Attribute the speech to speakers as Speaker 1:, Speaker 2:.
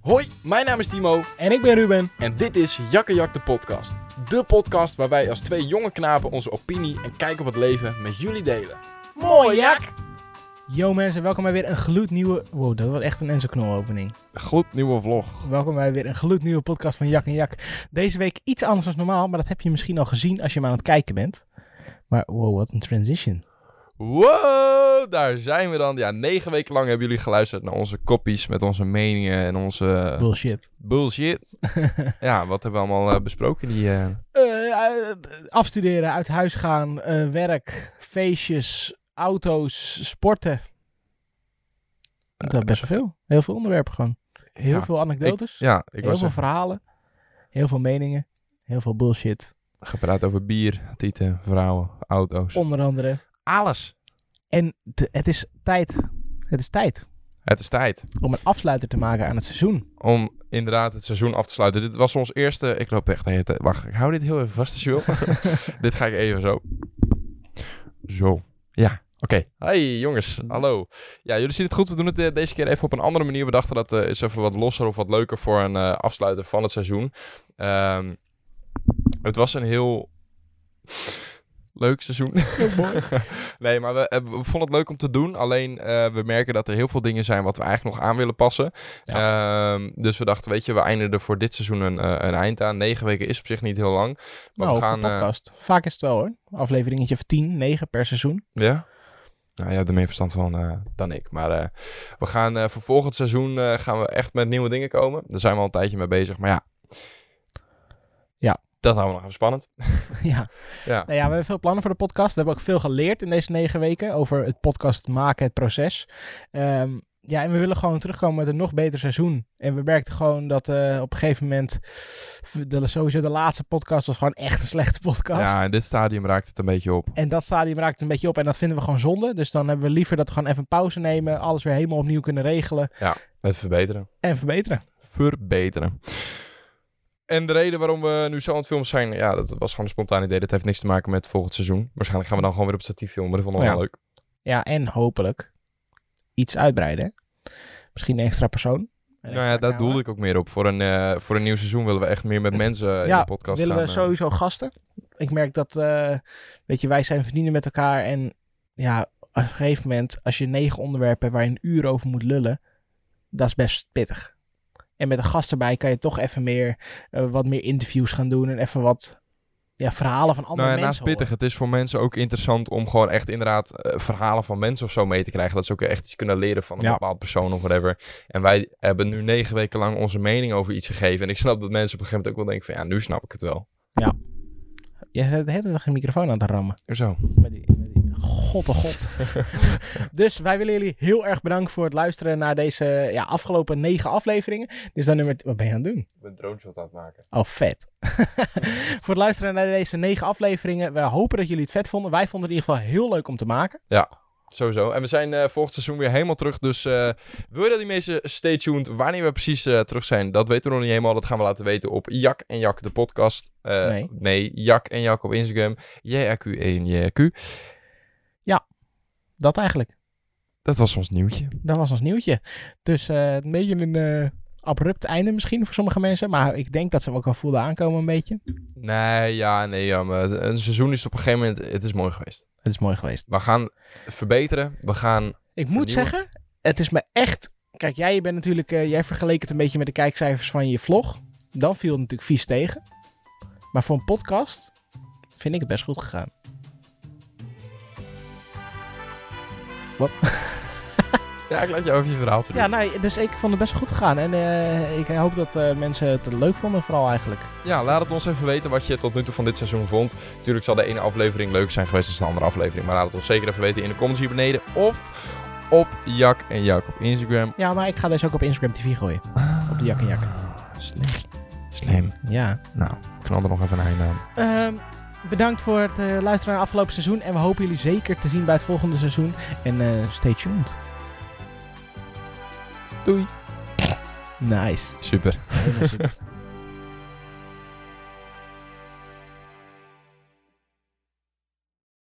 Speaker 1: Hoi, mijn naam is Timo
Speaker 2: En ik ben Ruben.
Speaker 1: en dit is Jakkejak de podcast. De podcast waar wij als twee jonge knapen onze opinie en kijk op het leven met jullie delen. Mooi jak!
Speaker 2: Yo mensen, welkom bij weer een gloednieuwe... Wow, dat was echt een Enzo Knol opening.
Speaker 1: Goed nieuwe vlog.
Speaker 2: Welkom bij weer een gloednieuwe podcast van Jak en Jak. Deze week iets anders dan normaal, maar dat heb je misschien al gezien als je maar aan het kijken bent. Maar wow, wat een transition.
Speaker 1: Wow, daar zijn we dan. Ja, negen weken lang hebben jullie geluisterd naar onze kopies met onze meningen en onze
Speaker 2: Bullshit.
Speaker 1: bullshit. ja, wat hebben we allemaal eh, besproken? Die, eh,
Speaker 2: Eh, eh, afstuderen, uit huis gaan, eh, werk, feestjes, auto's, sporten. Dat is best wel veel. Heel veel onderwerpen gewoon. Heel
Speaker 1: ja,
Speaker 2: veel anekdotes.
Speaker 1: Ja, ik
Speaker 2: heel
Speaker 1: was
Speaker 2: veel verhalen. Heel veel meningen. Heel veel bullshit.
Speaker 1: gepraat over bier, tieten, vrouwen, auto's.
Speaker 2: Onder andere.
Speaker 1: Alles.
Speaker 2: En de- het is tijd. Het is tijd
Speaker 1: Het is tijd.
Speaker 2: om een afsluiter te maken aan het seizoen.
Speaker 1: om inderdaad het seizoen af te sluiten. Dit was ons eerste. Ik loop echt de hele tijd. Wacht, ik hou dit heel even vast als je wil. dit ga ik even zo. Zo. Ja. Oké. Hey jongens, hallo. Ja, jullie zien het goed. We doen het eh, deze keer even op een andere manier. We dachten dat eh, is even wat losser of wat leuker voor een eh afsluiten van het seizoen. Ehm, het was een heel leuk seizoen. nee, maar we, eh, we vonden het leuk om te doen. Alleen eh, we merken dat er heel veel dingen zijn wat we eigenlijk nog aan willen passen. Ehm, dus we dachten, weet je, we eindigen er voor dit seizoen een, eh, een eind aan. Negen weken is op zich niet heel lang. Maar
Speaker 2: nou,
Speaker 1: we
Speaker 2: voor
Speaker 1: gaan.
Speaker 2: een
Speaker 1: eh,
Speaker 2: podcast. Vaak is het wel hoor. Afleveringetje of 10, 9 per seizoen.
Speaker 1: ja? Nou ja, er meer verstand van eh, dan ik. Maar eh, we gaan eh, voor volgend seizoen eh, gaan we echt met nieuwe dingen komen. Daar zijn we al een tijdje mee bezig. Maar ja.
Speaker 2: Ja.
Speaker 1: Dat houden we nog even spannend.
Speaker 2: ja.
Speaker 1: Ja.
Speaker 2: Nou ja, we hebben veel plannen voor de podcast. We hebben ook veel geleerd in deze negen weken over het podcast maken, het proces. Ehm, ja, en we willen gewoon terugkomen met een nog beter seizoen. En we merkten gewoon dat eh, op een gegeven moment, de, sowieso de laatste podcast was gewoon echt een slechte podcast.
Speaker 1: Ja, in dit stadium raakt het een beetje op.
Speaker 2: En dat stadium raakt het een beetje op en dat vinden we gewoon zonde. Dus dan hebben we liever dat we gewoon even een pauze nemen, alles weer helemaal opnieuw kunnen regelen
Speaker 1: Het verbeteren.
Speaker 2: en verbeteren.
Speaker 1: verbeteren. En de reden waarom we nu zo aan het filmen zijn, ja, dat was gewoon een spontaan idee. Dat heeft niks te maken met volgend seizoen. Waarschijnlijk gaan we dan gewoon weer op statief filmen. Dat vonden we
Speaker 2: Ja.
Speaker 1: wel leuk.
Speaker 2: Ja, en hopelijk iets uitbreiden. hè? Misschien een extra persoon. een
Speaker 1: Nou ja,
Speaker 2: extra
Speaker 1: daar
Speaker 2: camera.
Speaker 1: doelde ik ook meer op. Voor een, eh, voor een nieuw seizoen willen we echt meer met mensen eh, in
Speaker 2: Ja,
Speaker 1: de podcast
Speaker 2: willen
Speaker 1: gaan.
Speaker 2: we
Speaker 1: eh.
Speaker 2: sowieso gasten. Ik merk dat, eh, weet je, wij zijn vrienden met elkaar. En ja, op een gegeven moment, als je negen onderwerpen hebt waar je een uur over moet lullen, dat is best pittig. En met een gast erbij kan je toch even meer, eh, wat meer interviews gaan doen en even wat ja, verhalen van andere
Speaker 1: nou ja, naast
Speaker 2: mensen.
Speaker 1: pittig,
Speaker 2: horen.
Speaker 1: het is voor mensen ook interessant om gewoon echt inderdaad eh, verhalen van mensen of zo mee te krijgen. Dat ze ook echt iets kunnen leren van een
Speaker 2: Ja.
Speaker 1: bepaald persoon of whatever. En wij hebben nu negen weken lang onze mening over iets gegeven. En ik snap dat mensen op een gegeven moment ook wel denken van ja, nu snap ik het wel.
Speaker 2: Je hebt de hele tijd geen microfoon aan het rammen.
Speaker 1: Zo.
Speaker 2: Met die, met die- God oh god. dus wij willen jullie heel erg bedanken voor het luisteren naar deze ja, afgelopen negen afleveringen. Dit is dan nummer... Wat ben je aan het doen?
Speaker 1: Ik ben drones wat aan het maken.
Speaker 2: Oh, vet. Voor het luisteren naar deze negen afleveringen. We hopen dat jullie het vet vonden. Wij vonden het in ieder geval heel leuk om te maken.
Speaker 1: Sowieso. En we zijn eh, volgend seizoen weer helemaal terug. Dus eh, wil je dat die mensen stay tuned. Wanneer we precies eh, terug zijn, dat weten we nog niet helemaal. Dat gaan we laten weten op Jak en Jak, de podcast. Eh,
Speaker 2: Nee.
Speaker 1: Jak en Jak op Instagram. JRQ en JRQ.
Speaker 2: Dat eigenlijk.
Speaker 1: Dat was ons nieuwtje.
Speaker 2: Dat was ons nieuwtje. Dus eh, een beetje een eh, abrupt einde misschien voor sommige mensen. Maar ik denk dat ze hem ook al voelden aankomen een beetje.
Speaker 1: Nee, ja, nee, ja. Maar het- een seizoen is op een gegeven moment... Het is mooi geweest.
Speaker 2: Het is mooi geweest.
Speaker 1: We gaan verbeteren. We gaan...
Speaker 2: Ik moet
Speaker 1: Vernieuwen.
Speaker 2: zeggen, het is me echt... Kijk, jij bent natuurlijk... eh, jij vergeleek het een beetje met de kijkcijfers van je vlog. Dan viel het natuurlijk vies tegen. Maar voor een podcast vind ik het best goed gegaan.
Speaker 1: Ja, ik laat je over je verhaal te doen.
Speaker 2: Ja, nou, dus ik vond het best goed gegaan. En eh, ik hoop dat eh, mensen het leuk vonden, vooral eigenlijk.
Speaker 1: Ja, laat het ons even weten wat je tot nu toe van dit seizoen vond. Natuurlijk zal de ene aflevering leuk zijn geweest als de andere aflevering. Maar laat het ons zeker even weten in de comments hier beneden. Of op Jak en Jak op Instagram.
Speaker 2: Ja, maar ik ga deze ook op Instagram TV gooien. Op de Jak en Jak.
Speaker 1: Slim. Slim.
Speaker 2: Ja.
Speaker 1: Nou, knal er nog even een eh, einde aan.
Speaker 2: Ah. Ehm, bedankt voor het eh, luisteren naar het afgelopen seizoen. En we hopen jullie zeker te zien bij het volgende seizoen. En eh, stay tuned.
Speaker 1: Doei.
Speaker 2: Nice.
Speaker 1: Super.
Speaker 2: Helemaal super.